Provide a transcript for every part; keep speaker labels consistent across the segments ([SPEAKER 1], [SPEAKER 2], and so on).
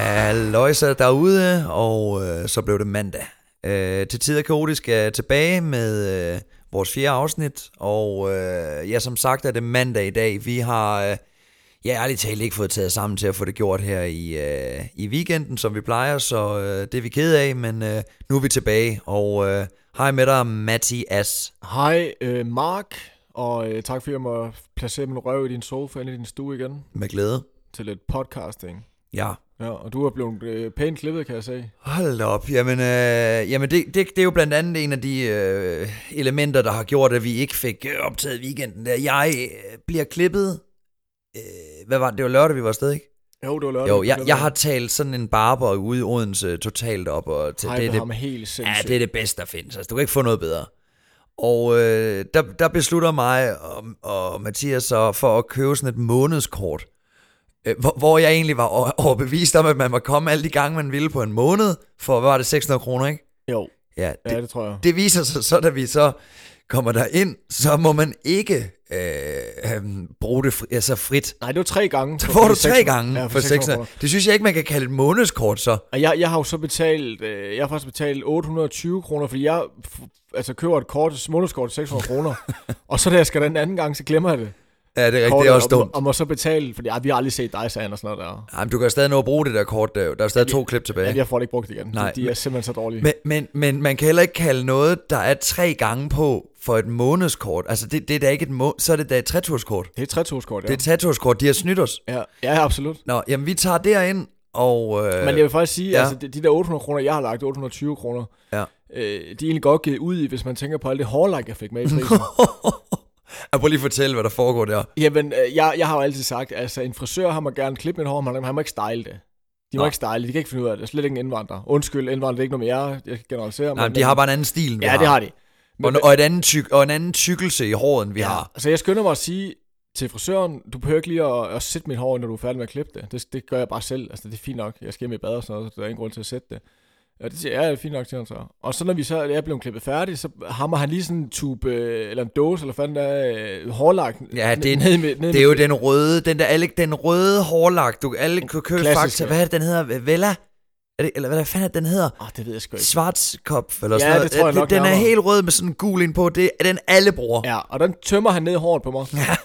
[SPEAKER 1] Roy sad derude, og øh, så blev det mandag. Øh, til tider kaotisk er tilbage med øh, vores fjerde afsnit, og øh, ja, som sagt er det mandag i dag. Vi har, øh, ja ærligt talt, ikke fået taget sammen til at få det gjort her i, øh, i weekenden, som vi plejer, så øh, det er vi ked af, men øh, nu er vi tilbage, og øh, hej med dig, Mathias.
[SPEAKER 2] Hej, øh, Mark, og øh, tak fordi jeg må placere min røv i din sofa ind i din stue igen
[SPEAKER 1] Med glæde.
[SPEAKER 2] til lidt podcasting.
[SPEAKER 1] Ja.
[SPEAKER 2] Ja, og du er blevet øh, pænt klippet, kan jeg se.
[SPEAKER 1] Hold da op. Jamen, øh, jamen det, det, det er jo blandt andet en af de øh, elementer, der har gjort, at vi ikke fik øh, optaget weekenden. Der. Jeg øh, bliver klippet... Øh, hvad var det? Det var lørdag, vi var afsted, ikke?
[SPEAKER 2] Jo, det var lørdag.
[SPEAKER 1] Jo, jeg,
[SPEAKER 2] klippet.
[SPEAKER 1] jeg har talt sådan en barber ude i Odense totalt op. Og til,
[SPEAKER 2] Hypet
[SPEAKER 1] det, er det,
[SPEAKER 2] ham helt sindssygt.
[SPEAKER 1] Ja, det er det bedste, der findes. Altså, du kan ikke få noget bedre. Og øh, der, der beslutter mig og, og Mathias så for at købe sådan et månedskort, øh, hvor, hvor jeg egentlig var over- overbevist om, at man må komme alle de gange, man ville på en måned, for hvad var det, 600 kroner, ikke?
[SPEAKER 2] Jo,
[SPEAKER 1] Ja, det,
[SPEAKER 2] ja, det tror jeg.
[SPEAKER 1] det viser sig så, da vi så kommer der ind, så må man ikke øh, øh, bruge det fri, altså frit.
[SPEAKER 2] Nej, det var tre gange.
[SPEAKER 1] Så
[SPEAKER 2] for-
[SPEAKER 1] får
[SPEAKER 2] for
[SPEAKER 1] du
[SPEAKER 2] de
[SPEAKER 1] tre
[SPEAKER 2] seks-
[SPEAKER 1] gange
[SPEAKER 2] ja,
[SPEAKER 1] for 600.
[SPEAKER 2] kroner.
[SPEAKER 1] Det synes jeg ikke, man kan kalde et månedskort så.
[SPEAKER 2] Og jeg, jeg har jo så betalt, øh, jeg har faktisk betalt 820 kroner, fordi jeg f- altså, køber et kort, månedskort til 600 kroner. og så da jeg skal den anden gang, så glemmer jeg det.
[SPEAKER 1] Ja, det er rigtigt. Det
[SPEAKER 2] Kortet,
[SPEAKER 1] er også
[SPEAKER 2] og,
[SPEAKER 1] dumt.
[SPEAKER 2] Og må så betale, fordi ja, vi har aldrig set dig, sagde han og sådan noget der.
[SPEAKER 1] Jamen, du kan stadig nå at bruge det der kort, der, jo. der er stadig to klip tilbage.
[SPEAKER 2] Ja, jeg får det ikke brugt igen.
[SPEAKER 1] Nej,
[SPEAKER 2] Nej, de er simpelthen så dårlige.
[SPEAKER 1] Men, men, men man kan heller ikke kalde noget, der er tre gange på for et månedskort. Altså, det, det er da ikke et må så er det da et treturskort.
[SPEAKER 2] det er et træturskort, ja.
[SPEAKER 1] Det er et treturskort, de har snydt os.
[SPEAKER 2] Ja, ja, absolut.
[SPEAKER 1] Nå, jamen vi tager derind, og... Øh,
[SPEAKER 2] Men jeg vil faktisk sige,
[SPEAKER 1] ja.
[SPEAKER 2] ja. altså de, de der 800 kroner, jeg har lagt, 820 kroner,
[SPEAKER 1] Ja.
[SPEAKER 2] øh, de er egentlig godt givet ud i, hvis man tænker på alt det hårlagt, jeg fik med i prisen.
[SPEAKER 1] jeg prøver lige at fortælle, hvad der foregår der.
[SPEAKER 2] Jamen, øh, jeg, jeg har jo altid sagt, altså en frisør, han må gerne klippe mit hår, men han- han må ikke style det. De må
[SPEAKER 1] Nå.
[SPEAKER 2] ikke style det, de kan ikke finde ud af det. Det er slet ikke en indvandrer. Undskyld, indvandrer, det er ikke noget med jer, jeg generaliserer.
[SPEAKER 1] Nej, men de har bare en anden stil, end vi
[SPEAKER 2] Ja, det har de.
[SPEAKER 1] Og, en- og, et andet tyk, og en anden tykkelse i håret, end vi ja. har.
[SPEAKER 2] Så Altså, jeg skynder mig at sige til frisøren, du behøver ikke lige at, at sætte mit hår, når du er færdig med at klippe det. det. Det gør jeg bare selv. Altså, det er fint nok. Jeg skal hjem i bad og sådan noget, så der er ingen grund til at sætte det. Og det siger jeg, ja, det er fint nok, siger han så. Og så når vi så er blevet klippet færdig, så hammer han lige sådan en tube, øh, eller en dåse, eller hvad fanden der er, øh, hårlagt
[SPEAKER 1] Ja, det er-
[SPEAKER 2] ned med, ned
[SPEAKER 1] Det er jo den røde, den der alle, den røde hårlagt, du alle kan købe
[SPEAKER 2] Klassisk,
[SPEAKER 1] fakta.
[SPEAKER 2] ja.
[SPEAKER 1] Hvad er det, den hedder? Vella? Er det, eller hvad der fanden er det, den hedder?
[SPEAKER 2] Ah, det ved jeg sgu ikke.
[SPEAKER 1] Schwarzkopf eller
[SPEAKER 2] Ja,
[SPEAKER 1] sådan noget.
[SPEAKER 2] det tror jeg
[SPEAKER 1] Den-
[SPEAKER 2] nok
[SPEAKER 1] Den er
[SPEAKER 2] nærmere.
[SPEAKER 1] helt rød med sådan en gul ind på. Det er den alle bruger.
[SPEAKER 2] Ja, og den tømmer han ned i håret på mig.
[SPEAKER 1] Ja.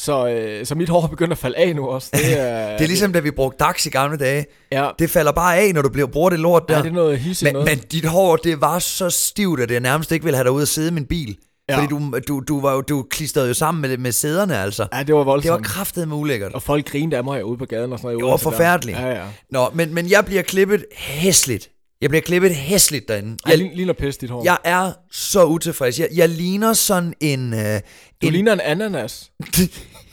[SPEAKER 2] Så, øh, så mit hår begynder at falde af nu også. Det er,
[SPEAKER 1] Det er ligesom, da vi brugte DAX i gamle dage.
[SPEAKER 2] Ja,
[SPEAKER 1] Det falder bare af, når du bliver, bruger det lort
[SPEAKER 2] ja,
[SPEAKER 1] der.
[SPEAKER 2] det er noget hisse
[SPEAKER 1] men,
[SPEAKER 2] noget.
[SPEAKER 1] men dit hår, det var så stivt, at jeg nærmest ikke ville have dig ud og sidde i min bil. Ja.
[SPEAKER 2] Ja.
[SPEAKER 1] Fordi du, du, du, var jo, du klistrede jo sammen med, med sæderne, altså.
[SPEAKER 2] ja, det var
[SPEAKER 1] Det
[SPEAKER 2] voldsomt.
[SPEAKER 1] var kraftedeme ulækkert.
[SPEAKER 2] Og folk grinede af mig herude på gaden og sådan noget. i
[SPEAKER 1] Det var
[SPEAKER 2] Odense der.
[SPEAKER 1] forfærdeligt.
[SPEAKER 2] Ja, ja.
[SPEAKER 1] Nå, men, men jeg bliver klippet hæsligt. Jeg bliver klippet hæsligt derinde.
[SPEAKER 2] Jeg
[SPEAKER 1] Jeg,
[SPEAKER 2] lign- ligner pisse dit hår.
[SPEAKER 1] jeg er så utilfreds. Jeg, jeg ligner sådan en... Øh,
[SPEAKER 2] du
[SPEAKER 1] en
[SPEAKER 2] ligner en ananas.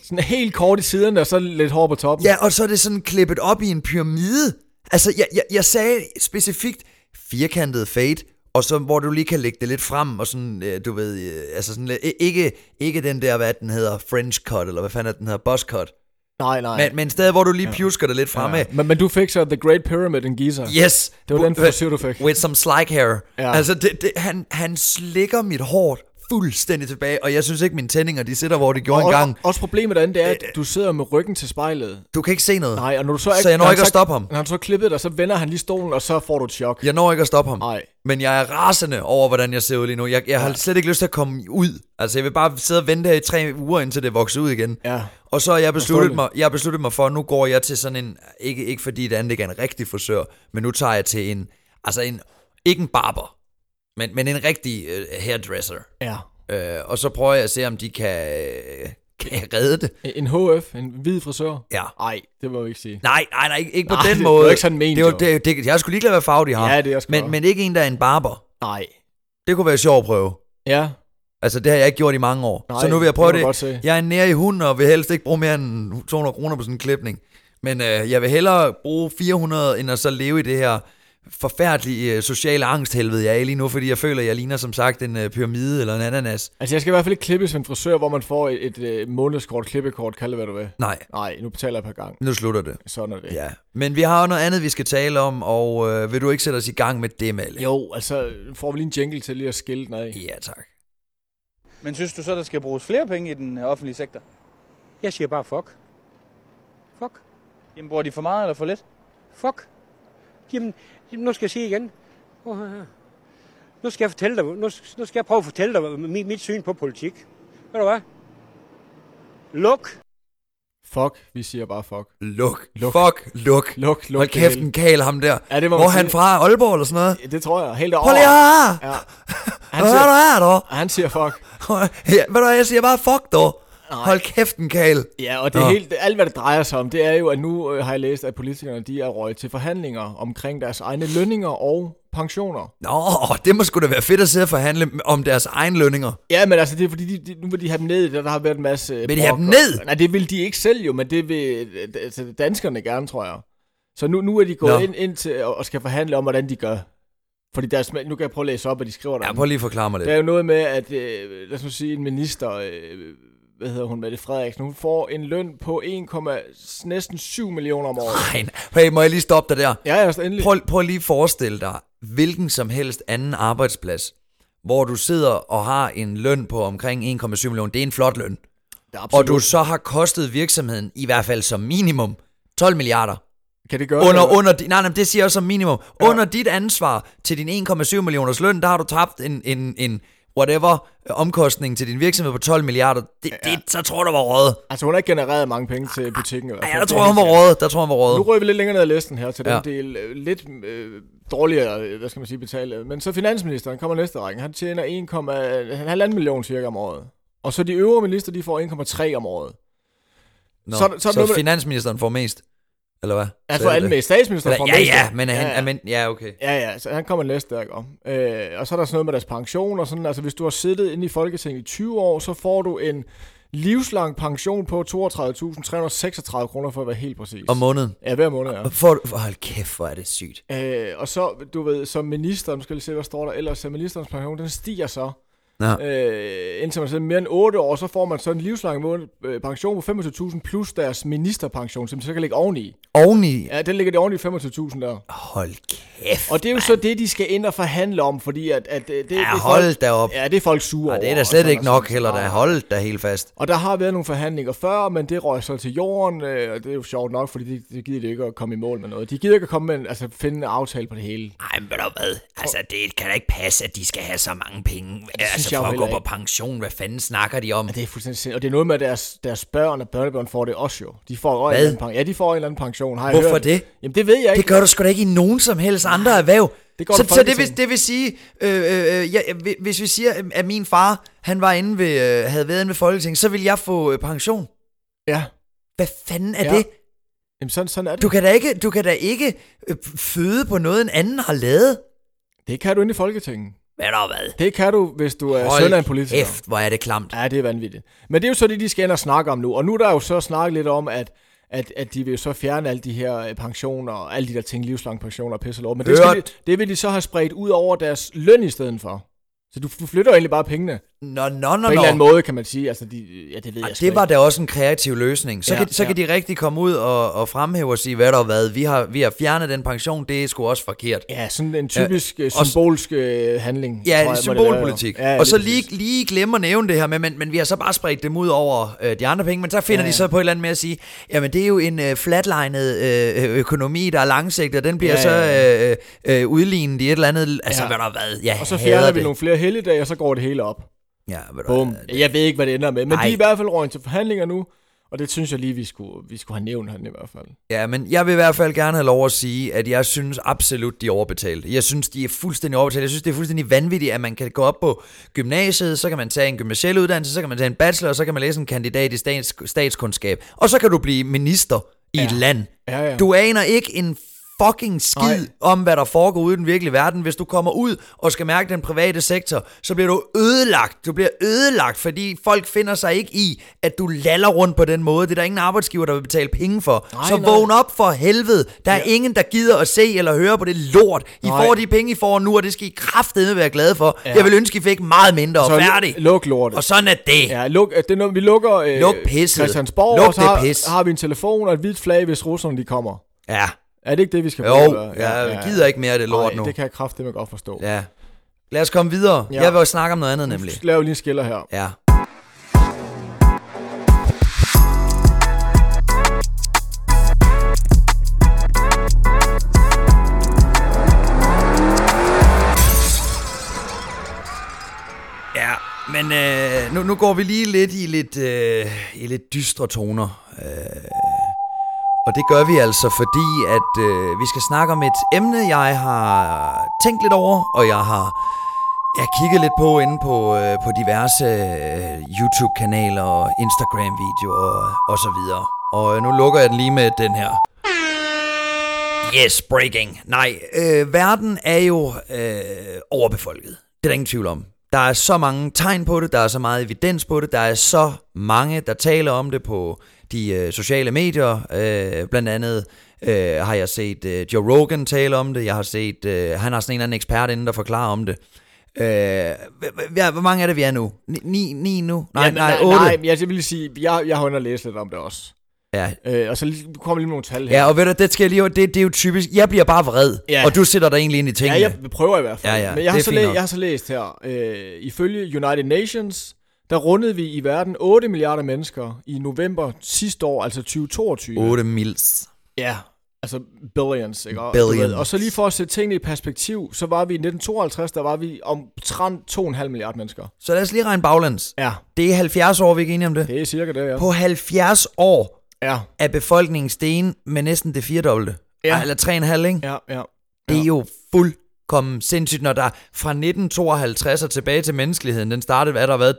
[SPEAKER 2] Sådan helt kort i siderne, og så lidt hår på toppen.
[SPEAKER 1] Ja, og så er det sådan klippet op i en pyramide. Altså, jeg, jeg, jeg sagde specifikt firkantet fade, og så hvor du lige kan lægge det lidt frem, og sådan, øh, du ved, øh, altså sådan, lidt- i- ikke, ikke den der, hvad den hedder, french cut, eller hvad fanden er den hedder, buzz cut,
[SPEAKER 2] Nej, nej.
[SPEAKER 1] men, men stadig, hvor du lige pjusker det lidt fremad.
[SPEAKER 2] ja. men, men du fik så The Great Pyramid in Giza.
[SPEAKER 1] Yes.
[SPEAKER 2] Det var den
[SPEAKER 1] Bu-
[SPEAKER 2] frisur, du fik.
[SPEAKER 1] With some slack hair. Ja.
[SPEAKER 2] Ja.
[SPEAKER 1] Altså, det, det, han, han slikker mit hår fuldstændig tilbage, og jeg synes ikke, mine tændinger, de sidder, hvor de gjorde
[SPEAKER 2] Og,
[SPEAKER 1] engang.
[SPEAKER 2] også problemet derinde, det
[SPEAKER 1] Øh,
[SPEAKER 2] er, at du sidder med ryggen til spejlet.
[SPEAKER 1] Du kan ikke se noget.
[SPEAKER 2] Nej, og når du så ikke...
[SPEAKER 1] Så jeg når
[SPEAKER 2] når han
[SPEAKER 1] ikke at stoppe ham.
[SPEAKER 2] Når han så klippet dig, så vender han lige stolen, og så får du et chok.
[SPEAKER 1] Jeg når ikke at stoppe ham.
[SPEAKER 2] Nej.
[SPEAKER 1] Men jeg er rasende over, hvordan jeg ser ud lige nu. Jeg, jeg har slet ikke lyst til at komme ud. Altså, jeg vil bare sidde og vente her i tre uger, indtil det vokser ud igen.
[SPEAKER 2] Ja.
[SPEAKER 1] Og så har jeg besluttet,
[SPEAKER 2] Forståeligt.
[SPEAKER 1] mig, jeg har besluttet mig for, at nu går jeg til sådan en... Ikke, ikke fordi det andet ikke er en rigtig frisør, men nu tager jeg til en... Altså, en, ikke en barber, men, men en rigtig øh, hairdresser.
[SPEAKER 2] Ja.
[SPEAKER 1] Øh, og så prøver jeg at se, om de kan, øh, kan redde det.
[SPEAKER 2] En HF, en hvid frisør.
[SPEAKER 1] Ja.
[SPEAKER 2] Nej, det må jeg ikke sige.
[SPEAKER 1] Nej, nej, nej, ikke, ikke på
[SPEAKER 2] Nej,
[SPEAKER 1] den
[SPEAKER 2] det-
[SPEAKER 1] måde.
[SPEAKER 2] det var ikke sådan ment,
[SPEAKER 1] det var,
[SPEAKER 2] jo.
[SPEAKER 1] det, det, Jeg er sgu ligeglad, hvad farve de har.
[SPEAKER 2] Ja, det er jeg sgu
[SPEAKER 1] men,
[SPEAKER 2] også.
[SPEAKER 1] men ikke en, der er en barber.
[SPEAKER 2] Nej.
[SPEAKER 1] Det kunne være sjovt at prøve.
[SPEAKER 2] Ja.
[SPEAKER 1] Altså, det har jeg ikke gjort i mange år. Nej,
[SPEAKER 2] Nej,
[SPEAKER 1] så nu vil jeg
[SPEAKER 2] det
[SPEAKER 1] prøve
[SPEAKER 2] kan
[SPEAKER 1] det.
[SPEAKER 2] du godt se.
[SPEAKER 1] Jeg er nær i hunden, og vil helst ikke bruge mere end 200 kroner på sådan en klipning. Men øh, jeg vil hellere bruge 400, end at så leve i det her forfærdelige øh, sociale angsthelvede, jeg er i lige nu, fordi jeg føler, jeg ligner som sagt en øh, pyramide eller en ananas.
[SPEAKER 2] Altså, jeg skal i hvert fald ikke klippes ved en frisør, hvor man får et, et, et månedskort, klippekort, kald det hvad du vil.
[SPEAKER 1] Nej,
[SPEAKER 2] Nej, nu betaler jeg per gang.
[SPEAKER 1] nu slutter det.
[SPEAKER 2] Sådan er det.
[SPEAKER 1] Ja. Men vi har jo noget andet, vi skal tale om, og øh, vil du ikke sætte os i gang med det, Malle?
[SPEAKER 2] Jo, altså, får vi lige en jingle til lige at skille den af.
[SPEAKER 1] Ja, tak.
[SPEAKER 3] Men synes du så, der skal bruges flere penge i den øh, offentlige sektor?
[SPEAKER 4] Jeg siger bare fuck. Fuck.
[SPEAKER 3] Jamen, bruger de for meget eller for lidt?
[SPEAKER 4] Fuck. Jamen, nu skal jeg sige igen. Prøv at høre her. Nu skal jeg, fortælle dig, nu, nu skal jeg prøve at fortælle dig mit, mit syn på politik. Ved du hvad? Luk
[SPEAKER 2] Fuck, vi siger bare fuck.
[SPEAKER 1] Luk.
[SPEAKER 2] Luk.
[SPEAKER 1] Fuck, luk.
[SPEAKER 2] Luk, luk
[SPEAKER 1] Hold
[SPEAKER 2] det
[SPEAKER 1] kæft,
[SPEAKER 2] hele.
[SPEAKER 1] en kal ham der.
[SPEAKER 2] Ja, det må
[SPEAKER 1] Hvor
[SPEAKER 2] man
[SPEAKER 1] er han
[SPEAKER 2] sige.
[SPEAKER 1] fra? Aalborg eller sådan noget?
[SPEAKER 2] Ja, Det tror jeg. Helt over.
[SPEAKER 1] Prøv lige her!
[SPEAKER 2] Ja. Han
[SPEAKER 1] Hvad er
[SPEAKER 2] siger,
[SPEAKER 1] du her, dog?
[SPEAKER 2] han siger fuck.
[SPEAKER 1] Ja, ved du hvad, jeg siger bare fuck, dog. Hold kæft, en kal.
[SPEAKER 2] Ja, og det
[SPEAKER 1] Nå.
[SPEAKER 2] er helt, alt, hvad det drejer sig om, det er jo, at nu øh, har jeg læst, at politikerne de er røget til forhandlinger omkring deres egne lønninger og pensioner.
[SPEAKER 1] Nå, det må sgu da være fedt at sidde og forhandle om deres egen lønninger.
[SPEAKER 2] Ja, men altså, det er fordi, de, de, nu vil de have dem ned, der, der har været en masse...
[SPEAKER 1] Vil de have
[SPEAKER 2] brok
[SPEAKER 1] dem
[SPEAKER 2] og-
[SPEAKER 1] ned?
[SPEAKER 2] Nej, det vil de ikke selv jo, men det vil øh, d- altså, danskerne gerne, tror jeg. Så nu, nu er de
[SPEAKER 1] Nå.
[SPEAKER 2] gået ind, ind til og og skal forhandle om, hvordan de gør. Fordi deres, nu kan jeg prøve at læse op, hvad de skriver der.
[SPEAKER 1] Ja, prøv lige at forklare mig
[SPEAKER 2] Der
[SPEAKER 1] lidt.
[SPEAKER 2] er jo noget med, at øh, lad os nu sige, en minister, øh, hvad hedder hun, Mette Frederiksen, hun får en løn på 1, næsten 7 millioner om året.
[SPEAKER 1] Nej, hey, må jeg lige stoppe dig der?
[SPEAKER 2] Ja, ja, så endelig.
[SPEAKER 1] Prøv, prøv lige at forestille dig, hvilken som helst anden arbejdsplads, hvor du sidder og har en løn på omkring 1,7 millioner. Det er en flot løn.
[SPEAKER 2] Ja,
[SPEAKER 1] Og
[SPEAKER 2] absolut.
[SPEAKER 1] du så har kostet virksomheden, i hvert fald som minimum, 12 milliarder.
[SPEAKER 2] kan det gøre
[SPEAKER 1] Under,
[SPEAKER 2] noget?
[SPEAKER 1] under, di- nej, nej, men det siger jeg også som minimum. Under dit ansvar til din 1,7 millioners løn, der har du tabt en, en, en whatever øh, omkostning til din virksomhed på 12 milliarder. Det, ja. det så tror jeg, der var rådet.
[SPEAKER 2] Altså, hun har ikke genereret mange penge til butikken. i hvert
[SPEAKER 1] Ja,
[SPEAKER 2] fald.
[SPEAKER 1] der
[SPEAKER 2] Det
[SPEAKER 1] tror
[SPEAKER 2] er
[SPEAKER 1] jeg, hun
[SPEAKER 2] helt
[SPEAKER 1] var
[SPEAKER 2] sikkert.
[SPEAKER 1] rådet. Der tror jeg, hun var
[SPEAKER 2] Nu
[SPEAKER 1] rådet.
[SPEAKER 2] rører vi lidt længere ned ad listen her til
[SPEAKER 1] Ja.
[SPEAKER 2] den del. øh, Lidt øh, dårligere, øh, hvad skal man sige, betalt. Men så finansministeren kommer næste række. Han tjener 1,5 million cirka om året. Og så de øvrige minister, de får 1,3 om året.
[SPEAKER 1] Nå,
[SPEAKER 2] så er der- så
[SPEAKER 1] så,
[SPEAKER 2] er der noget
[SPEAKER 1] så
[SPEAKER 2] med-
[SPEAKER 1] finansministeren får mest, eller hvad?
[SPEAKER 2] Altså,
[SPEAKER 1] Så
[SPEAKER 2] for
[SPEAKER 1] er det
[SPEAKER 2] alle
[SPEAKER 1] det.
[SPEAKER 2] med statsministeren får
[SPEAKER 1] Eller,
[SPEAKER 2] mest,
[SPEAKER 1] ja, ja, men, er han,
[SPEAKER 2] ja.
[SPEAKER 1] ja. men ja, okay.
[SPEAKER 2] Ja, ja, så han kommer næste dag om. Øh, og så er der sådan noget med deres pension og sådan. Altså, hvis du har siddet inde i Folketinget i 20 år, så får du en livslang pension på 32.336 kroner, for at være helt præcis.
[SPEAKER 1] Om måneden.
[SPEAKER 2] Ja, hver måned, ja.
[SPEAKER 1] For, for, hold kæft, hvor er det sygt.
[SPEAKER 2] Øh, og så, du ved, som minister, nu skal jeg lige se, hvad står der ellers, så ministerens pension, den stiger så.
[SPEAKER 1] Nå.
[SPEAKER 2] Øh, indtil man sidder mere end 8 år, så får man så en livslang måned, øh, pension på 25.000 plus deres ministerpension, som de så kan lægge oveni.
[SPEAKER 1] Oveni,
[SPEAKER 2] Ja, den ligger det oveni 25.000 der.
[SPEAKER 1] hold kæft.
[SPEAKER 2] Og det er jo så det, de skal ind og forhandle om, fordi at, at øh, det, det
[SPEAKER 1] Ja,
[SPEAKER 2] er
[SPEAKER 1] hold
[SPEAKER 2] folk,
[SPEAKER 1] da op.
[SPEAKER 2] ja, det er folk sure
[SPEAKER 1] Ja, det er
[SPEAKER 2] over,
[SPEAKER 1] da
[SPEAKER 2] og
[SPEAKER 1] slet
[SPEAKER 2] sådan
[SPEAKER 1] ikke
[SPEAKER 2] og sådan. Ah.
[SPEAKER 1] nok heller, da. Hold da helt fast.
[SPEAKER 2] Og der har været nogle forhandlinger før, men det røg så til jorden, øh, og det er jo sjovt nok, fordi de, de gider ikke at komme i mål med noget. De gider ikke at komme med en, altså, finde en aftale på det hele.
[SPEAKER 1] Ej, men ved du hvad? Altså, det kan da ikke passe, at de skal have så mange penge. Ja,
[SPEAKER 2] synes
[SPEAKER 1] altså,
[SPEAKER 2] jeg
[SPEAKER 1] for
[SPEAKER 2] jo
[SPEAKER 1] at gå
[SPEAKER 2] heller
[SPEAKER 1] på pension, hvad fanden snakker de om?
[SPEAKER 2] Ja, det er fuldstændig sindssygt. Og det er noget med, at deres, deres børn og børnebørn får det også jo. De får jo en eller anden pension. Ja, de får en eller anden pension. Har jeg
[SPEAKER 1] Hvorfor
[SPEAKER 2] hørt.
[SPEAKER 1] det?
[SPEAKER 2] Jamen det ved jeg
[SPEAKER 1] Det
[SPEAKER 2] ikke.
[SPEAKER 1] gør du sgu da ikke i nogen som helst andre erhverv.
[SPEAKER 2] det gør
[SPEAKER 1] så,
[SPEAKER 2] du
[SPEAKER 1] så det, vil,
[SPEAKER 2] Folketinget.
[SPEAKER 1] det vil sige, øh, øh, øh, ja, øh, hvis vi siger, øh, at min far han var inde ved, øh, havde været inde ved Folketinget, så vil jeg få øh, pension.
[SPEAKER 2] Ja.
[SPEAKER 1] Hvad fanden er
[SPEAKER 2] Ja.
[SPEAKER 1] ja. det?
[SPEAKER 2] Jamen sådan, sådan er det.
[SPEAKER 1] Du kan da ikke, du kan da ikke øh, føde på noget, en anden har lavet.
[SPEAKER 2] Det kan du inde i Folketinget.
[SPEAKER 1] Hvad der hvad?
[SPEAKER 2] Det kan du, hvis du er søn af en politiker.
[SPEAKER 1] kæft, hvor er det klamt.
[SPEAKER 2] Ja, det er vanvittigt. Men det er jo så det, de skal ind og snakke om nu. Og nu er der jo så snakket lidt om, at, at, at de vil jo så fjerne alle de her øh, pensioner og alle de der ting, livslange pensioner og pisse og lort. Men det, skal de,
[SPEAKER 1] Hørt.
[SPEAKER 2] det vil de så have spredt ud over deres løn i stedet for. Så du, du flytter jo egentlig bare pengene. På
[SPEAKER 1] Nå, nå, nå,
[SPEAKER 2] en eller anden
[SPEAKER 1] nå.
[SPEAKER 2] måde, kan man sige. Altså, de, ja, det ved
[SPEAKER 1] Ah,
[SPEAKER 2] jeg sgu
[SPEAKER 1] Det var
[SPEAKER 2] ikke.
[SPEAKER 1] da også en kreativ løsning. Så,
[SPEAKER 2] Ja,
[SPEAKER 1] ja, kan, så
[SPEAKER 2] ja.
[SPEAKER 1] ja. kan de rigtig komme ud og, og fremhæve og sige, hvad der hvad. Vi har, vi har fjernet den pension, det er sgu også forkert.
[SPEAKER 2] Ja, sådan en typisk ja,
[SPEAKER 1] og-
[SPEAKER 2] symbolsk øh, handling. tror jeg, må
[SPEAKER 1] Ja,
[SPEAKER 2] det
[SPEAKER 1] symbolpolitik.
[SPEAKER 2] være, jo.
[SPEAKER 1] Ja, og så
[SPEAKER 2] præcis.
[SPEAKER 1] lige, lige glemme at nævne det her med, men, men vi har så bare spredt dem ud over øh, de andre penge, men så finder
[SPEAKER 2] Ja,
[SPEAKER 1] ja. de
[SPEAKER 2] ja.
[SPEAKER 1] så på et eller andet med at sige, jamen det er jo en øh, flatlinet øh, økonomi, der er langsigtet, og den bliver
[SPEAKER 2] Ja,
[SPEAKER 1] ja, så
[SPEAKER 2] ja,
[SPEAKER 1] øh, øh, øh, udlignet i et eller andet, altså
[SPEAKER 2] Ja.
[SPEAKER 1] ja. hvad der hvad. Jeg
[SPEAKER 2] Og så
[SPEAKER 1] hader
[SPEAKER 2] fjerner vi
[SPEAKER 1] det.
[SPEAKER 2] nogle flere helligdage, og så går det hele op.
[SPEAKER 1] Ja, ved du
[SPEAKER 2] Bum.
[SPEAKER 1] hvad, det-
[SPEAKER 2] Jeg ved ikke, hvad det ender med, men
[SPEAKER 1] Nej.
[SPEAKER 2] de er i hvert fald røget til forhandlinger nu, og det synes jeg lige, vi skulle, vi skulle have nævnt han i hvert fald.
[SPEAKER 1] Ja, men jeg vil i hvert fald gerne have lov at sige, at jeg synes absolut, de er overbetalt. Jeg synes, de er fuldstændig overbetalt. Jeg synes, det er fuldstændig vanvittigt, at man kan gå op på gymnasiet, så kan man tage en gymnasiel uddannelse, så kan man tage en bachelor, og så kan man læse en kandidat i stats- statskundskab. Og så kan du blive minister i ja. et land.
[SPEAKER 2] Ja, ja.
[SPEAKER 1] Du aner ikke en fucking skid
[SPEAKER 2] Nej.
[SPEAKER 1] Nej. om, hvad der foregår ude i den virkelige verden. Hvis du kommer ud og skal mærke den private sektor, så bliver du ødelagt. Du bliver ødelagt, fordi folk finder sig ikke i, at du laller rundt på den måde. Det er der ingen arbejdsgiver, der vil betale penge for.
[SPEAKER 2] Nej,
[SPEAKER 1] Nej, så
[SPEAKER 2] nej.
[SPEAKER 1] vågn op for helvede. Der er
[SPEAKER 2] Ja.
[SPEAKER 1] ja. ingen, der gider at se eller høre på det lort. I
[SPEAKER 2] Nej.
[SPEAKER 1] nej. får de penge, I får nu, og det skal I kraftedeme være glade for.
[SPEAKER 2] Ja.
[SPEAKER 1] Ja. Jeg vil ønske, I fik meget mindre og
[SPEAKER 2] Så lu-
[SPEAKER 1] færdig.
[SPEAKER 2] luk lortet.
[SPEAKER 1] og sådan er det. Ja.
[SPEAKER 2] Ja, luk, det er noget, vi lukker øh,
[SPEAKER 1] Luk pisset.
[SPEAKER 2] Christiansborg,
[SPEAKER 1] Luk
[SPEAKER 2] og så
[SPEAKER 1] det
[SPEAKER 2] har,
[SPEAKER 1] pis.
[SPEAKER 2] har vi en telefon og et hvidt flag, hvis russerne de kommer.
[SPEAKER 1] ja.
[SPEAKER 2] Er det ikke det, vi skal prøve at
[SPEAKER 1] Jo,
[SPEAKER 2] gøre?
[SPEAKER 1] jeg gider ikke mere af det lort
[SPEAKER 2] Nej,
[SPEAKER 1] nu.
[SPEAKER 2] det kan jeg kraftedeme godt forstå. Ja.
[SPEAKER 1] Ja. Lad os komme videre.
[SPEAKER 2] Ja.
[SPEAKER 1] Ja. Jeg vil også snakke om noget andet nemlig.
[SPEAKER 2] Lav lige en skiller her.
[SPEAKER 1] Ja. Men øh, nu, nu går vi lige lidt i lidt, øh, i lidt dystre toner. Øh, og det gør vi altså, fordi at øh, vi skal snakke om et emne, jeg har tænkt lidt over, og jeg har jeg kigget lidt på inde på, øh, på diverse øh, YouTube-kanaler og Instagram-videoer og, og så videre. Og øh, nu lukker jeg den lige med den her. Yes, breaking. Nej, øh, verden er jo øh, overbefolket. Det er der ingen tvivl om. Der er så mange tegn på det, der er så meget evidens på det, der er så mange, der taler om det på de øh, sociale medier. Øh, blandt andet øh, har jeg set øh, Joe Rogan tale om det, jeg har set, øh, han har sådan en eller anden ekspert inden, der forklarer om det. Øh, h- h- hvor mange er det, vi er nu? Ni, ni, ni nu? Nej, ja, nej, otte.
[SPEAKER 2] nej, men jeg vil lige sige, jeg, jeg har under læst lidt om det også.
[SPEAKER 1] Ja,
[SPEAKER 2] Øh, og så lige- du kommer lige med nogle tal her.
[SPEAKER 1] Ja, og ved du, det skal jeg lige, det, det er jo typisk, jeg bliver bare vred,
[SPEAKER 2] Ja.
[SPEAKER 1] og du sætter dig egentlig ind i tingene.
[SPEAKER 2] Ja, jeg prøver i hvert fald.
[SPEAKER 1] Ja, ja,
[SPEAKER 2] Men jeg har,
[SPEAKER 1] det er
[SPEAKER 2] så
[SPEAKER 1] fint
[SPEAKER 2] læ-
[SPEAKER 1] nok.
[SPEAKER 2] jeg har så læst her, øh, ifølge United Nations, der rundede vi i verden 8 milliarder mennesker i november sidste år, altså 2022.
[SPEAKER 1] 8 mils.
[SPEAKER 2] Ja, altså billions, ikke? Og,
[SPEAKER 1] Billions.
[SPEAKER 2] du ved, Og så lige for at sætte tingene i perspektiv, så var vi i 1952, der var vi omtrent 2,5 milliarder mennesker.
[SPEAKER 1] Så lad os lige regne baglands.
[SPEAKER 2] Ja,
[SPEAKER 1] Det er 70 år, vi er ikke enige om det.
[SPEAKER 2] det er cirka det, ja.
[SPEAKER 1] På 70 år
[SPEAKER 2] Ja,
[SPEAKER 1] er befolkningen stenen med næsten det firedobbelte.
[SPEAKER 2] Ja.
[SPEAKER 1] Ej, Eller 3,5, ikke?
[SPEAKER 2] ja, ja.
[SPEAKER 1] Det er jo fuldkommen sindssygt, når der fra 1952 og tilbage til menneskeligheden, den startede, hvad der har været,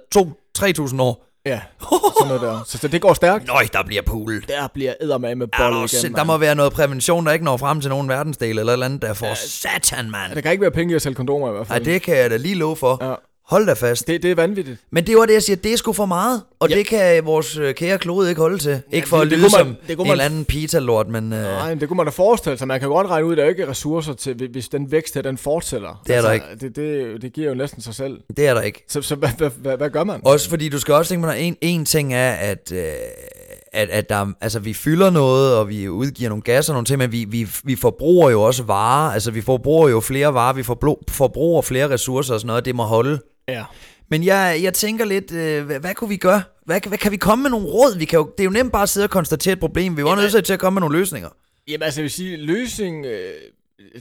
[SPEAKER 1] 2-3.000 år.
[SPEAKER 2] Ja, sådan noget der. Så, så det går stærkt.
[SPEAKER 1] Nøj, der bliver pulet.
[SPEAKER 2] Der bliver eddermame med
[SPEAKER 1] Er
[SPEAKER 2] bolden
[SPEAKER 1] der,
[SPEAKER 2] igen,
[SPEAKER 1] sind- der må
[SPEAKER 2] mand.
[SPEAKER 1] være noget prævention, der ikke når frem til nogen verdensdel eller et eller andet, der for satan, mand.
[SPEAKER 2] Der kan ikke være penge i at sælge kondomer i hvert
[SPEAKER 1] Ej,
[SPEAKER 2] fald.
[SPEAKER 1] det kan jeg da lige love for.
[SPEAKER 2] Ja.
[SPEAKER 1] Hold da fast.
[SPEAKER 2] Det, det er vanvittigt.
[SPEAKER 1] Men det var det, jeg siger, det er sgu for meget, og ja.
[SPEAKER 2] Ja.
[SPEAKER 1] det kan vores øh, kære klode ikke holde til. Ikke for
[SPEAKER 2] det-
[SPEAKER 1] at
[SPEAKER 2] det
[SPEAKER 1] lyde
[SPEAKER 2] kunne man-
[SPEAKER 1] som
[SPEAKER 2] det
[SPEAKER 1] det
[SPEAKER 2] kunne
[SPEAKER 1] en
[SPEAKER 2] man-
[SPEAKER 1] eller anden pita-lort, men øh,
[SPEAKER 2] Nej, men det kunne man da forestille sig. Man kan godt regne ud, at der ikke er ressourcer til, hvis- hvis den vækst her, den fortsætter. Altså,
[SPEAKER 1] Det er der ikke.
[SPEAKER 2] Det, det, det giver jo næsten sig selv.
[SPEAKER 1] det er der ikke.
[SPEAKER 2] Så, så hvad, hvad, hvad, hvad gør man?
[SPEAKER 1] Også fordi du skal også tænke på, at en, en ting er, at, øh, at, at der, altså, vi fylder noget, og vi udgiver nogle gasser og nogle ting, men vi, vi, vi forbruger jo også varer. Altså, vi forbruger jo flere varer, vi forblo- forbruger flere ressourcer og sådan noget, og det må holde.
[SPEAKER 2] Ja.
[SPEAKER 1] Men jeg, jeg tænker lidt, øh, hvad, hvad kunne vi gøre? Hvad, hvad, kan vi komme med nogle råd? Vi kan jo, det er jo nemt bare at sidde og konstatere et problem. Vi er jo nødt til at komme med nogle løsninger.
[SPEAKER 2] Jamen altså, jeg vil sige, løsning, øh,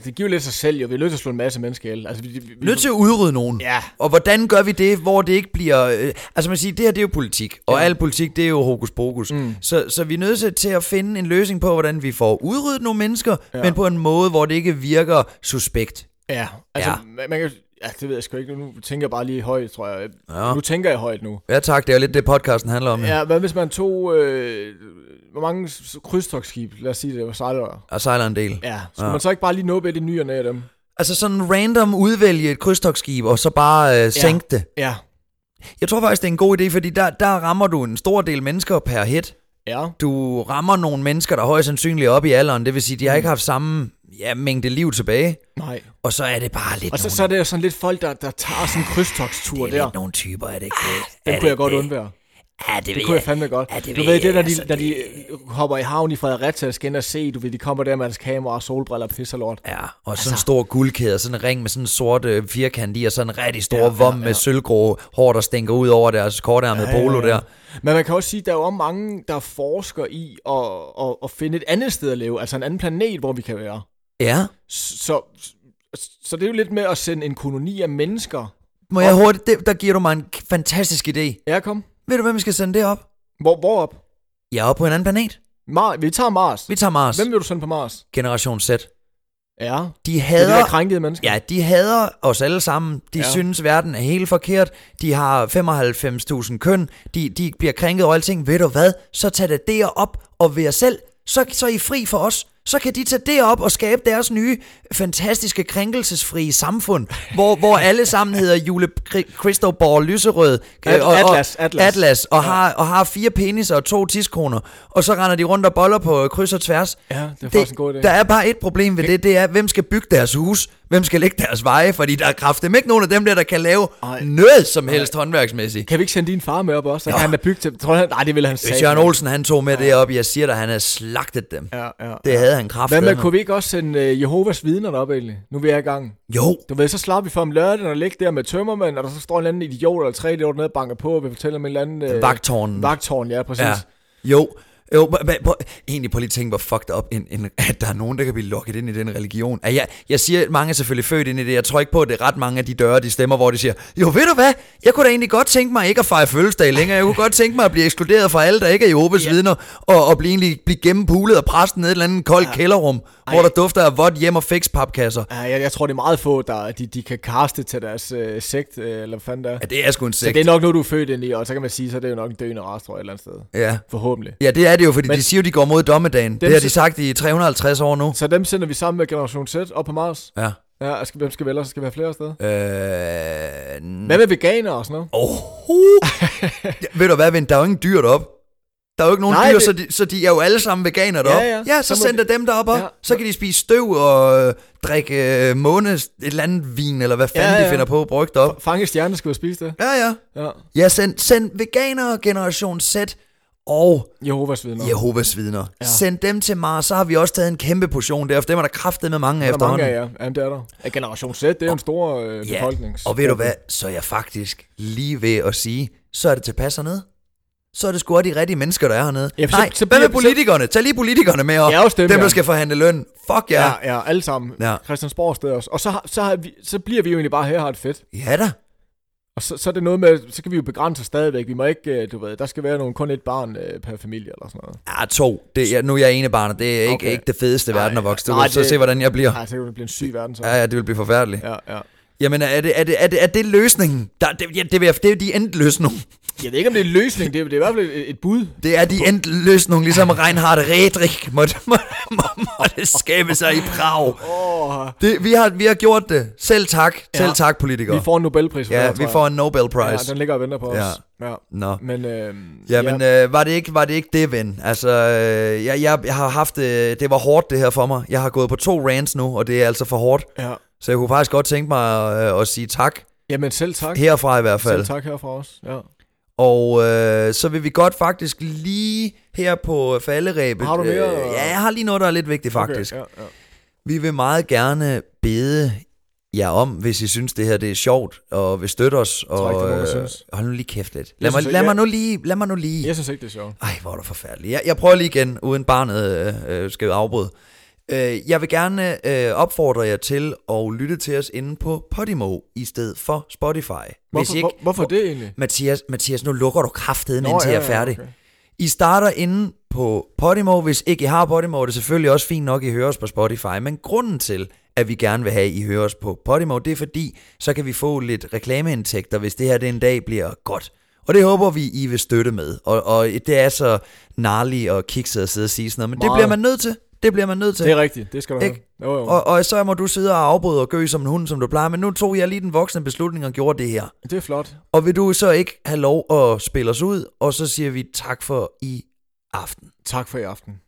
[SPEAKER 2] det giver jo lidt sig selv jo. Vi er nødt til at slå en masse mennesker ihjel. Altså, vi, vi, vi,
[SPEAKER 1] Nødt til at udrydde nogen.
[SPEAKER 2] Ja.
[SPEAKER 1] Og hvordan gør vi det, hvor det ikke bliver... Øh, altså man siger, det her det er jo politik, og ja. al politik det er jo hokus pokus. Mm. Så, så vi er nødt til- til at finde en løsning på, hvordan vi får udryddet nogle mennesker, ja. men på en måde, hvor det ikke virker suspekt.
[SPEAKER 2] Ja, altså,
[SPEAKER 1] Ja.
[SPEAKER 2] ja. Man, man kan, ja, det ved jeg sgu ikke. Nu nu tænker jeg bare lige højt, tror jeg.
[SPEAKER 1] Ja.
[SPEAKER 2] Ja. Nu tænker jeg højt nu.
[SPEAKER 1] Ja tak, det er jo lidt det podcasten handler om. Ja.
[SPEAKER 2] Ja, hvad hvis man tog, øh, hvor mange s- krydstogsskib, lad os sige det, var sejlere.
[SPEAKER 1] Og sejler en del. Ja.
[SPEAKER 2] Ja, skulle ja. man så ikke bare lige nå et i nyerne af dem?
[SPEAKER 1] Altså sådan random udvælge et krydstogsskib, og så bare øh, sænke det.
[SPEAKER 2] Ja.
[SPEAKER 1] Jeg tror faktisk, det er en god idé, fordi der, der rammer du en stor del mennesker per hit.
[SPEAKER 2] Ja.
[SPEAKER 1] Du rammer nogle mennesker, der højst sandsynligt er oppe i alderen. Det vil sige, de har ikke haft samme ja, mængde liv tilbage.
[SPEAKER 2] Nej.
[SPEAKER 1] Og så er det bare lidt
[SPEAKER 2] Og så,
[SPEAKER 1] nogle,
[SPEAKER 2] så er det jo sådan lidt folk, der, der tager sådan en krydstogstur
[SPEAKER 1] det er
[SPEAKER 2] der.
[SPEAKER 1] lidt nogle typer, er det ikke det?
[SPEAKER 2] Den
[SPEAKER 1] Er
[SPEAKER 2] kunne jeg godt
[SPEAKER 1] ikke
[SPEAKER 2] undvære.
[SPEAKER 1] Ja, det,
[SPEAKER 2] Det kunne jeg fandme godt.
[SPEAKER 1] Ja, det
[SPEAKER 2] du
[SPEAKER 1] ved
[SPEAKER 2] ved,
[SPEAKER 1] jeg,
[SPEAKER 2] det, når, de,
[SPEAKER 1] altså,
[SPEAKER 2] når de hopper i havn i Fredericia og skal ind og se, du ved, de kommer der med deres kamera og solbriller og pisser lort.
[SPEAKER 1] Ja, og sådan en
[SPEAKER 2] Altså-
[SPEAKER 1] stor guldkæde, sådan en ring med sådan en sort øh, firkant i, og sådan en rigtig stor ja, vom med sølvgrå hår, der stinker ud over deres kortærmede ja, polo der.
[SPEAKER 2] Men man kan også sige, at der er jo også mange, der forsker i at, at, at finde et andet sted at leve, altså en anden planet, hvor vi kan være.
[SPEAKER 1] Ja,
[SPEAKER 2] Så, så, så det er jo lidt med at sende en koloni af mennesker.
[SPEAKER 1] må jeg hurtigt, det, der giver du mig en k- fantastisk idé.
[SPEAKER 2] Ja, kom.
[SPEAKER 1] Ved du, hvem vi skal sende det op?
[SPEAKER 2] Hvor, hvor op?
[SPEAKER 1] Jeg er oppe på en anden planet.
[SPEAKER 2] Mar- vi tager Mars.
[SPEAKER 1] Vi tager Mars.
[SPEAKER 2] Hvem vil du sende på Mars?
[SPEAKER 1] Generation Z.
[SPEAKER 2] Ja.
[SPEAKER 1] De
[SPEAKER 2] Det er de
[SPEAKER 1] hader...
[SPEAKER 2] der krænkede mennesker.
[SPEAKER 1] Ja, de hader os alle sammen. De ja.
[SPEAKER 2] Ja.
[SPEAKER 1] synes, verden er helt forkert. De har 95.000 køn. De, de bliver krænket over alting. Ved du hvad? Så tag det der op og ved jer selv. Så, så er I fri for os. Så kan de tage det op og skabe deres nye, fantastiske, krænkelsesfrie samfund, hvor, hvor alle sammen hedder Jule Kri- Cristobal Lyserød. øh,
[SPEAKER 2] At-
[SPEAKER 1] og,
[SPEAKER 2] Atlas,
[SPEAKER 1] og,
[SPEAKER 2] Atlas.
[SPEAKER 1] Atlas. Og, ja. har, og har fire peniser og to tidskoner. Og så render de rundt og boller på øh, kryds og tværs.
[SPEAKER 2] Ja, det er faktisk en god idé.
[SPEAKER 1] Der er bare et problem ved det, det er, hvem skal bygge deres hus, hvem skal lægge deres veje, fordi der er kraftigt ikke nogen af dem der, der kan lave Ej.
[SPEAKER 2] Ej.
[SPEAKER 1] noget som helst Ej. håndværksmæssigt.
[SPEAKER 2] Kan vi ikke sende din far med op også? Så kan han da bygge til... Tror han, nej, det ville han
[SPEAKER 1] Hvis
[SPEAKER 2] sige.
[SPEAKER 1] Jørgen Olsen han tog med det op, jeg siger dig, han havde slagtet dem.
[SPEAKER 2] Ja, ja.
[SPEAKER 1] Det havde han kraftigt.
[SPEAKER 2] Hvad med, kunne vi ikke også sende øh, Jehovas vidner op egentlig? Nu er vi er i gang.
[SPEAKER 1] Jo,
[SPEAKER 2] Du ved, så slap vi for om lørdagen og ligge der med tømmermænd, og der så står en eller anden idiot eller tre idioter nede og banker på, og vil fortælle om en eller anden... Øh,
[SPEAKER 1] vagtårnen.
[SPEAKER 2] Vagtårn, ja, præcis.
[SPEAKER 1] ja.
[SPEAKER 2] Ja.
[SPEAKER 1] Jo, Jo, men- men prøv, egentlig prøv lige at tænke, hvor fucked up, en, en, at der er nogen, der kan blive lukket ind i den religion. At jeg, jeg siger, at mange er selvfølgelig født ind i det. Jeg tror ikke på, at det er ret mange af de døre, de stemmer, hvor de siger, jo ved du hvad, jeg kunne da egentlig godt tænke mig ikke at fejre fødselsdag længere. Jeg kunne godt tænke mig at blive ekskluderet fra alle, der ikke er Jehovas yeah. vidner, og, og blive, egentlig, blive gennempulet af præsten ned i et eller andet koldt kælderrum, hvor der dufter af vådt hjem og fixpapkasser.
[SPEAKER 2] Ja, jeg, jeg tror, det er meget få, der de, de kan kaste til deres øh, sekt, øh, eller hvad fanden der.
[SPEAKER 1] Ja, det er sgu en
[SPEAKER 2] Så
[SPEAKER 1] sekt.
[SPEAKER 2] det er nok noget, du er født ind i, og så kan man sige, så er det jo nok en døende rest, tror jeg, et eller andet sted.
[SPEAKER 1] Ja.
[SPEAKER 2] Forhåbentlig.
[SPEAKER 1] ja, det er det jo, fordi
[SPEAKER 2] Men-
[SPEAKER 1] de siger jo, de går mod dommedagen. Det har de sagt i 350 år nu.
[SPEAKER 2] Så dem sender vi sammen med Generation Z op på Mars.
[SPEAKER 1] Ja.
[SPEAKER 2] Ja, og skal, hvem skal vi ellers? Skal vi have flere afsted?
[SPEAKER 1] Øh,
[SPEAKER 2] Hvad med veganere og sådan noget?
[SPEAKER 1] Oho. ja, ved du hvad, ven, der er jo ingen dyr deroppe. Der er jo ikke nogen
[SPEAKER 2] Nej,
[SPEAKER 1] dyr,
[SPEAKER 2] det-
[SPEAKER 1] det... så, de, så de er jo alle sammen veganer deroppe.
[SPEAKER 2] ja.
[SPEAKER 1] ja så,
[SPEAKER 2] Så
[SPEAKER 1] så
[SPEAKER 2] må
[SPEAKER 1] sender
[SPEAKER 2] de-
[SPEAKER 1] dem deroppe op.
[SPEAKER 2] Ja.
[SPEAKER 1] Ja. Så kan de spise støv og øh, drikke øh, måne, et eller andet vin, eller hvad fanden
[SPEAKER 2] Ja,
[SPEAKER 1] ja, ja.
[SPEAKER 2] ja.
[SPEAKER 1] de finder på at brygge deroppe.
[SPEAKER 2] Fange stjerner skal jo spise det.
[SPEAKER 1] Ja, ja.
[SPEAKER 2] Ja.
[SPEAKER 1] Ja, send, send veganere, generation Z og
[SPEAKER 2] Jehovas vidner.
[SPEAKER 1] Jehovas vidner. Ja. Send dem til Mars, så har vi også taget en kæmpe portion der, for dem er der kraftet med mange af
[SPEAKER 2] Der er mange
[SPEAKER 1] efterhånden.
[SPEAKER 2] af jer. Jamen, det er der. Ja, Generation Z, det er jo en stor øh,
[SPEAKER 1] Ja,
[SPEAKER 2] befolknings...
[SPEAKER 1] og ved du hvad, så er jeg faktisk lige ved at sige, så er det tilpas hernede. Så er det sgu også de rigtige mennesker, der er hernede.
[SPEAKER 2] Ja,
[SPEAKER 1] Ja,
[SPEAKER 2] for
[SPEAKER 1] Nej,
[SPEAKER 2] så- så
[SPEAKER 1] så hvad
[SPEAKER 2] bliver-
[SPEAKER 1] med politikerne? Tag lige politikerne med op.
[SPEAKER 2] Ja, også dem,
[SPEAKER 1] dem
[SPEAKER 2] ja.
[SPEAKER 1] der skal forhandle løn. Fuck ja.
[SPEAKER 2] Ja,
[SPEAKER 1] Ja,
[SPEAKER 2] ja, alle sammen. Ja.
[SPEAKER 1] Ja.
[SPEAKER 2] Christiansborg sted også. Og så, har- så, har vi, så bliver vi jo egentlig bare her og har det fedt.
[SPEAKER 1] ja da.
[SPEAKER 2] Og så, så er det noget med, så kan vi jo begrænse os stadigvæk. Vi må ikke, øh, du ved, der skal være nogen, kun et barn øh, per familie eller sådan noget.
[SPEAKER 1] Ja, to. Det, jeg, nu er jeg ene barn, og det er ikke,
[SPEAKER 2] Okay.
[SPEAKER 1] okay. ikke det fedeste
[SPEAKER 2] Nej,
[SPEAKER 1] verden at vokse
[SPEAKER 2] nej,
[SPEAKER 1] ud. Så
[SPEAKER 2] det-
[SPEAKER 1] se, hvordan jeg bliver.
[SPEAKER 2] Nej, så kan Altså, det blive en syg verden så.
[SPEAKER 1] Ja, ja, det vil blive forfærdeligt. Ja.
[SPEAKER 2] Ja, ja.
[SPEAKER 1] Jamen, er det, er det, er det, er det løsningen? Der, det, ja, det, vil jeg- det er de endte løsning.
[SPEAKER 2] Jeg ved ikke, om det er en løsning. Det er, det er i hvert fald et, et bud.
[SPEAKER 1] Det er de endte løsning, ligesom Reinhard Redrich måtte, må, må, måtte skabe sig i Prag.
[SPEAKER 2] Åh,
[SPEAKER 1] Det, vi, har, vi har gjort det. Selv tak.
[SPEAKER 2] Ja.
[SPEAKER 1] Selv tak, politikere.
[SPEAKER 2] vi får en Nobelpris. for det
[SPEAKER 1] ja,
[SPEAKER 2] her,
[SPEAKER 1] vi
[SPEAKER 2] tror
[SPEAKER 1] får
[SPEAKER 2] jeg.
[SPEAKER 1] en Nobel Prize.
[SPEAKER 2] Ja, den ligger og venter på os. Ja.
[SPEAKER 1] Nå.
[SPEAKER 2] Men, øh,
[SPEAKER 1] Jamen, øh, var, det ikke, var det ikke det, ven? Altså, øh, jeg, jeg, jeg har haft... Øh, det var hårdt, det her for mig. Jeg har gået på to rants nu, og det er altså for hårdt.
[SPEAKER 2] ja.
[SPEAKER 1] Så jeg kunne faktisk godt tænke mig øh, at sige tak.
[SPEAKER 2] Jamen, selv tak.
[SPEAKER 1] Herfra i hvert fald.
[SPEAKER 2] Selv tak herfra også. Ja.
[SPEAKER 1] Og øh, så vil vi godt faktisk lige her på falderæbet...
[SPEAKER 2] Har du mere?
[SPEAKER 1] Øh, ja, jeg har lige noget, der er lidt vigtigt faktisk.
[SPEAKER 2] Okay, ja, ja.
[SPEAKER 1] Vi vil meget gerne bede jer om, hvis I synes, det her det er sjovt, og vil støtte os. Og,
[SPEAKER 2] tror ikke, der er nogen, der
[SPEAKER 1] øh,
[SPEAKER 2] synes.
[SPEAKER 1] Hold nu lige kæft lidt.
[SPEAKER 2] Jeg
[SPEAKER 1] Lad, mig,
[SPEAKER 2] synes ikke,
[SPEAKER 1] lad
[SPEAKER 2] jeg-
[SPEAKER 1] mig nu lige... Lad mig nu lige.
[SPEAKER 2] Jeg synes ikke, det er sjovt.
[SPEAKER 1] Ej, hvor er du forfærdelig. Jeg, jeg prøver lige igen, uden barnet øh, øh, skal afbryde. Øh, jeg vil gerne øh, opfordre jer til at lytte til os inde på Podimo i stedet for Spotify.
[SPEAKER 2] Hvorfor,
[SPEAKER 1] I
[SPEAKER 2] ikke, hvor, hvorfor det egentlig?
[SPEAKER 1] Mathias, Mathias, nu lukker du kraftedeme,
[SPEAKER 2] Nå,
[SPEAKER 1] indtil
[SPEAKER 2] ja,
[SPEAKER 1] jeg er
[SPEAKER 2] ja,
[SPEAKER 1] færdig.
[SPEAKER 2] okay.
[SPEAKER 1] I starter inde på Podimo. Hvis ikke I har Podimo, er det selvfølgelig også fint nok, I hører os på Spotify. Men grunden til, at vi gerne vil have, at I hører os på Podimo, det er fordi, så kan vi få lidt reklameindtægter, hvis det her det en dag bliver godt. Og det håber vi, I vil støtte med. Og, og det er så gnarligt og kikset at sidde og sige sådan noget, men det
[SPEAKER 2] Meget.
[SPEAKER 1] bliver man nødt til. Det bliver man nødt til.
[SPEAKER 2] Det er rigtigt, det skal du have.
[SPEAKER 1] Ikke?
[SPEAKER 2] Jo, jo.
[SPEAKER 1] Og, og så må du sidde og afbryde og gø som en hund, som du plejer. Men nu tog jeg lige den voksne beslutning og gjorde det her.
[SPEAKER 2] Det er flot.
[SPEAKER 1] Og vil du så ikke have lov at spille os ud, og så siger vi tak for i aften.
[SPEAKER 2] Tak for i aften.